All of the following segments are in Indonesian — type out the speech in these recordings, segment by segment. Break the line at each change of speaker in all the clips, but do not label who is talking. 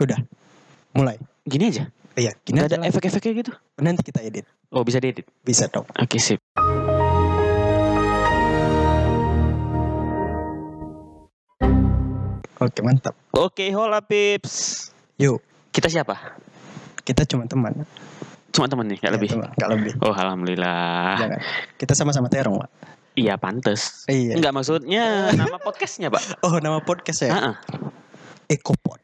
Udah. Mulai.
Gini aja.
Iya, gini
Gak
aja
ada
lah.
efek-efeknya gitu.
Nanti kita edit.
Oh bisa diedit.
Bisa dong.
Oke sip.
Oke, mantap.
Oke hola pips.
Yuk,
Kita siapa?
kita cuma teman.
Cuma temen nih,
Ya,
gak lebih.
teman. Nggak lebih.
Oh alhamdulillah.
Jangan. Kita sama-sama terong, Pak.
Iya pantes.
Iya.
Enggak maksudnya nama podcastnya pak.
Oh, nama podcast ya?
Heeh.
Ekopod.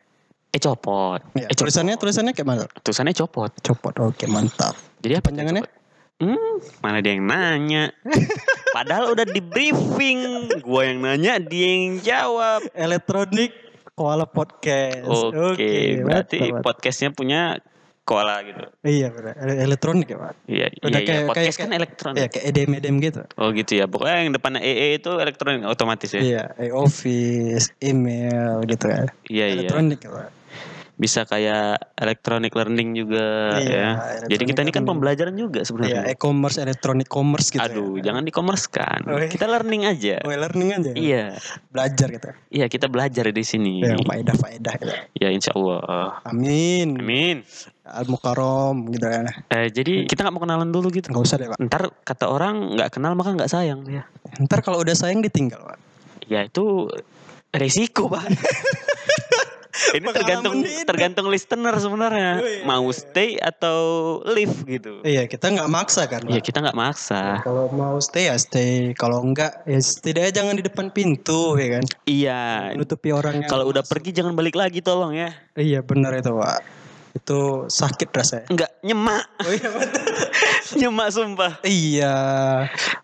Eh copot.
Ya,
Eh, copot.
tulisannya tulisannya kayak mana?
Tulisannya copot.
Copot. Oke, mantap.
Jadi apa?
Panjangannya?
Hmm, mana dia yang nanya? Padahal udah di briefing. Gua yang nanya, dia yang jawab.
Elektronik Koala Podcast.
Oke, berarti
mantap, mantap.
podcastnya punya koala gitu.
Iya, benar. Ele- Elektronik ya, Pak.
Iya,
Udah
iya, iya.
kayak-
podcast
kayak-
kan elektronik.
Iya, kayak EDM-EDM gitu.
Oh gitu ya. Pokoknya yang depannya EE itu elektronik otomatis ya.
Iya, eh, office, email gitu kan.
Iya iya.
Elektronik ya, Pak.
Bisa kayak electronic learning juga
Iya,
ya. Jadi kita
electronic
ini kan
learning.
pembelajaran juga
Iya,
sebenarnya.
e-commerce, elektronik commerce gitu.
Aduh,
ya.
jangan di commerce kan.
Oh, iya.
Kita learning aja.
Oh, learning aja. ya?
Iya.
Belajar gitu.
Iya, kita belajar di sini.
Ya, faedah faedah gitu.
Ya insya Allah.
Amin.
Amin.
Al Mukarom gitu kan.
Eh, jadi kita nggak mau kenalan dulu gitu.
Enggak usah deh, Pak.
Ntar kata orang nggak kenal maka nggak sayang ya.
Ntar kalau udah sayang ditinggal, Pak.
Ya itu resiko pak. Ini
Pengalaman
tergantung
hidup.
tergantung listener sebenarnya
Oh, iya.
mau stay atau leave gitu.
Iya, kita nggak maksa kan,
Ya
Pak.
kita nggak maksa.
Kalau mau stay ya stay, kalau enggak ya setidaknya jangan di depan pintu ya kan.
Iya.
Menutupi orang yang
Kalau udah
masuk.
pergi jangan balik lagi tolong ya.
Iya, benar itu, Pak. Itu sakit rasanya.
Enggak nyemak,
Oh iya, betul.
nyemak sumpah.
iya.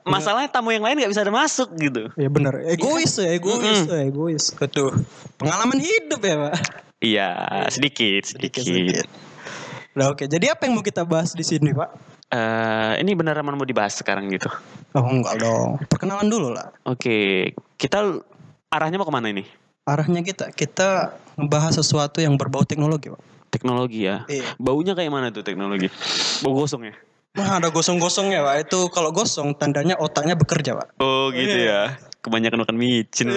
Masalahnya tamu yang lain nggak bisa ada masuk gitu.
Ya benar, egois ya, egois, ya, egois. Aduh, pengalaman hidup ya, Pak.
Iya, sedikit, sedikit.
Sedikit-sedikit. Nah, oke. Jadi apa yang mau kita bahas di sini, Pak?
Eh, ini beneran mau dibahas sekarang gitu.
Oh, enggak dong. Perkenalan dulu lah.
Oke, kita l- arahnya mau kemana ini?
Arahnya kita kita ngebahas sesuatu yang berbau teknologi, Pak.
Teknologi ya.
Iya.
Baunya kayak mana tuh teknologi? Bau gosong ya?
Nah, ada gosong-gosongnya, Pak. Itu kalau gosong tandanya otaknya bekerja, Pak.
Oh gitu
iya.
ya. Kebanyakan makan micin.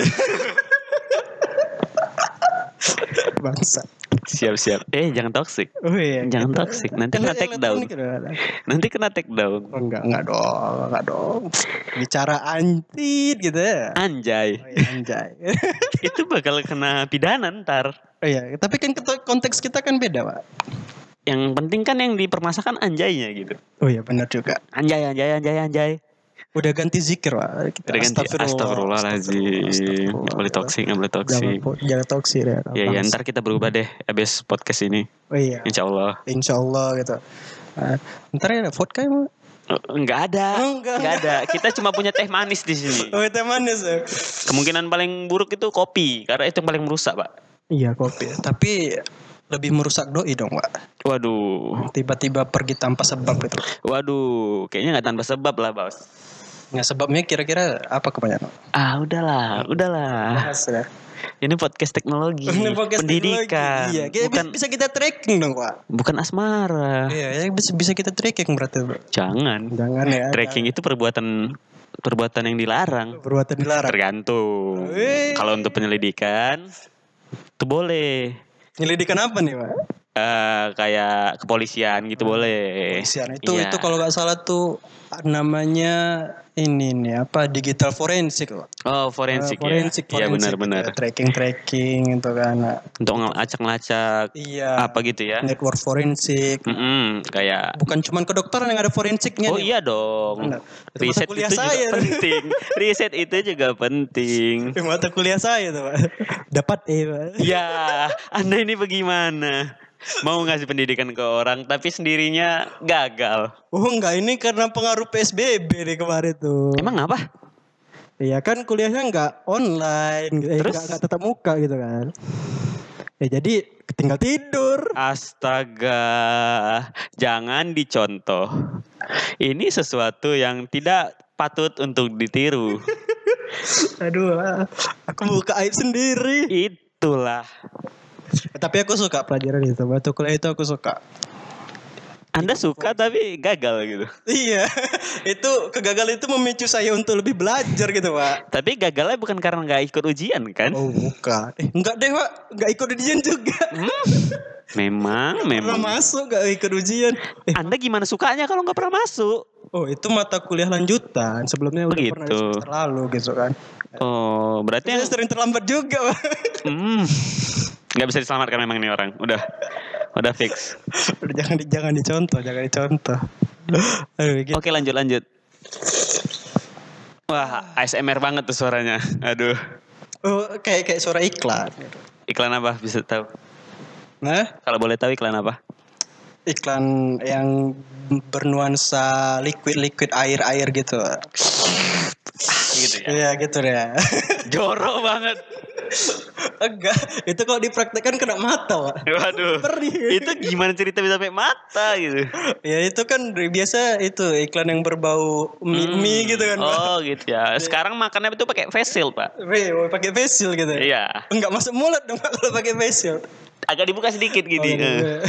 Bangsa.
Siap-siap. Eh jangan toxic.
Oh iya.
Jangan toxic. Nanti kena take down. Nanti kena take down.
Oh, enggak, enggak dong, enggak dong. Bicara anti gitu ya.
Anjay.
Oh, iya, anjay.
Itu bakal kena pidana ntar.
oh iya, tapi kan kita, konteks kita kan beda, Pak.
Yang penting kan yang dipermasakan anjaynya gitu.
Oh iya, benar juga.
Anjay, anjay, anjay, anjay.
Udah ganti zikir, Pak. Kita
Udah ganti astagfirullahaladzim.
astagfirullah.
Nggak boleh toxic, nggak boleh
Jangan,
toxic.
po- jangan toksik ya.
Ya, ya
Bangsa.
ntar kita berubah deh abis podcast ini.
Oh iya.
Insya Allah.
Insya Allah gitu. Eh, ntar ya ada vodka emang?
Eh, Nggak ada.
Oh, nggak.
Nggak ada. Kita cuma punya teh manis di sini.
Oh teh manis ya?
Kemungkinan paling buruk itu kopi. Karena itu yang paling merusak, Pak.
Iya kopi. Tapi lebih merusak doi dong pak.
Waduh.
Tiba-tiba pergi tanpa sebab gitu.
Waduh, kayaknya nggak tanpa sebab lah, Bos.
Nah sebabnya kira-kira apa kebanyakan?
Ah, udahlah, udahlah.
Bahas ya.
Ini podcast teknologi,
Ini podcast
iya, pendidikan,
teknologi. Iya, kita
bukan
bisa kita tracking dong pak.
bukan asmara.
Iya, ya, bisa, bisa kita tracking berarti Pak.
Jangan.
Jangan ya.
Tracking itu perbuatan perbuatan yang dilarang.
jangan. Perbuatan dilarang.
Tergantung.
Wih.
Kalau untuk penyelidikan itu boleh.
Penyelidikan apa nih pak?
Eh kayak kepolisian gitu boleh.
Hmm. Kepolisian itu
Iya.
itu kalau nggak salah tuh namanya ini nih apa digital forensik pak.
Oh,
Eh,
forensik,
forensik,
ya. Iya
forensik gitu
benar-benar.
ya, tracking tracking gitu kan Nah,
Untuk ngelacak-ngelacak
iya
apa gitu ya.
network forensik
Mm-mm, kayak
bukan cuman kedokteran yang ada forensiknya
Oh
nih.
iya dong.
Benar. Itu mata
Riset
kuliah
itu juga
saya.
penting. Riset itu juga penting.
Di mata kuliah saya tuh pak dapat E pak
Ya, Anda ini bagaimana? Mau ngasih pendidikan ke orang tapi sendirinya gagal.
oh enggak ini karena pengaruh PSBB nih kemarin tuh
Emang apa?
iya kan kuliahnya enggak online gitu. eh,
Terus?
enggak, enggak tetap muka gitu kan ya jadi tinggal tidur
Astaga, jangan dicontoh. Ini sesuatu yang tidak patut untuk ditiru.
aduh ah, aku buka aib sendiri
Itulah.
Eh, tapi aku suka pelajaran itu mata kuliah itu aku suka
Anda suka tapi gagal gitu.
Iya, itu kegagalan itu memicu saya untuk lebih belajar gitu pak.
Tapi gagalnya bukan karena nggak ikut ujian kan?
Oh bukan, eh, enggak deh pak, enggak ikut ujian juga.
Memang,
Pernah
memang.
masuk enggak ikut ujian. Eh,
Anda gimana sukanya kalau nggak pernah masuk?
oh itu mata kuliah lanjutan, sebelumnya udah pernah
Begitu.
semester lalu gitu kan.
Oh, berarti
Saya
yang-
sering terlambat juga pak.
Hmm. Nggak bisa diselamatkan memang ini orang. Udah. Udah fix.
Aduh, jangan di- jangan dicontoh, jangan dicontoh. Aduh, gitu.
Oke, lanjut lanjut. Wah, ASMR banget tuh suaranya. Aduh.
Oh, kayak kayak suara iklan. gitu.
Iklan apa bisa tahu?
Nah,
Kalau boleh tahu iklan apa?
iklan yang bernuansa liquid-liquid air-air gitu.
Gitu ya.
Iya gitu deh.
Jorok banget.
Enggak, itu kalau dipraktekkan kena mata, Pak.
Waduh.
Perih.
Itu gimana cerita bisa sampai mata gitu?
Ya itu kan biasa itu iklan yang berbau mie, mie gitu kan, Pak.
Hmm. Oh gitu ya. Sekarang makannya itu pakai face shield, Pak.
Weh, mau pakai facial gitu.
Iya.
Enggak masuk mulut dong Pak, kalau pakai facial. Iya.
Agak dibuka sedikit gini. Eh.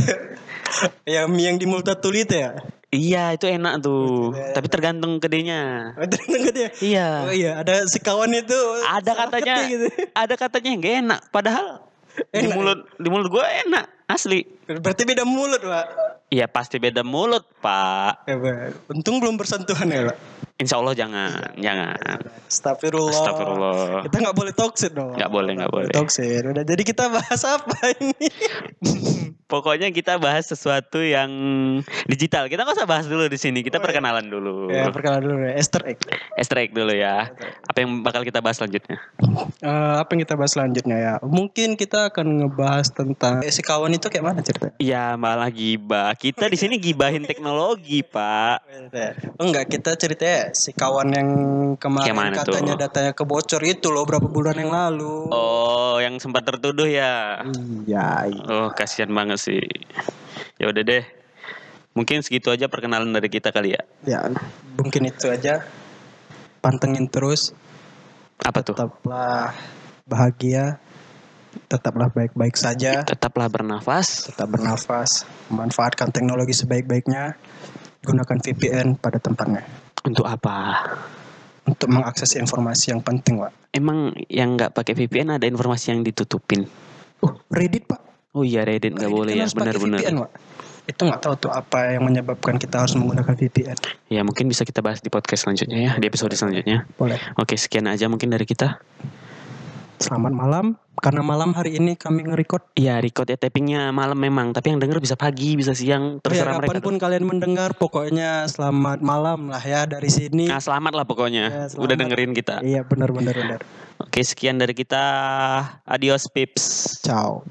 ya mie yang di mulut tuli itu ya.
Iya, itu enak tuh. Tapi tergantung kedenya.
Iya.
Iya.
Oh iya, ada si kawan itu.
ada
salah
katanya
ketik gitu.
ada katanya yang gak enak padahal di
Enak, ya?
mulut di mulut gue enak asli
Berarti beda mulut, Pak.
ya pasti beda mulut pak
Ya, Pak. Untung belum bersentuhan ya, Pak.
insya Allah jangan
Iya.
jangan
Astagfirullah.
Astagfirullah.
Kita nggak boleh toxic dong.
Nggak boleh, nggak boleh.
Toxic. Udah jadi kita bahas apa ini?
pokoknya kita bahas sesuatu yang digital kita nggak usah bahas dulu di
Oh,
sini
iya.
kita perkenalan dulu
ya perkenalan dulu ya. Esther Egg.
Estrek dulu
Iya,
ya apa yang bakal kita bahas selanjutnya
Eh, apa yang kita bahas selanjutnya ya? Mungkin kita akan ngebahas tentang Eh, si kawan itu kayak mana ceritanya?
ya malah gibah kita di sini gibahin teknologi pak
Oh, Enggak, kita ceritanya si kawan yang kemarin
Kayak mana tuh?
katanya datanya kebocor itu loh berapa bulan yang lalu.
oh yang sempat tertuduh ya
Iya. iya.
Oh, kasihan banget sih. Ya udah deh. Mungkin segitu aja perkenalan dari kita kali ya.
Ya, mungkin itu aja. Pantengin terus,
Apa tuh?
tetaplah bahagia, tetaplah baik-baik saja.
Tetaplah bernafas.
tetap bernafas, manfaatkan teknologi sebaik-baiknya, gunakan VPN pada tempatnya
Untuk apa?
untuk mengakses informasi yang penting, Pak.
Emang yang nggak pakai VPN ada informasi yang ditutupin.
Uh, Reddit, Pak.
Oh iya Reddit nggak
Reddit
boleh
kan
ya
harus pakai VPN,
benar-benar.
Pak. Itu nggak tahu tuh apa yang menyebabkan kita harus menggunakan VPN.
Ya mungkin bisa kita bahas di podcast selanjutnya ya di episode selanjutnya.
Boleh.
Oke sekian aja mungkin dari kita.
Selamat malam. Karena malam hari ini kami nge-record.
Iya record ya tappingnya malam memang tapi yang denger bisa pagi bisa siang
Ya,
terserah mereka. tuh.
kapanpun kalian mendengar, pokoknya selamat malam lah ya dari sini.
Nah selamat lah pokoknya
Ya, selamat.
udah dengerin kita.
Iya, benar-benar benar.
Oke sekian dari kita. Adios pips.
Ciao.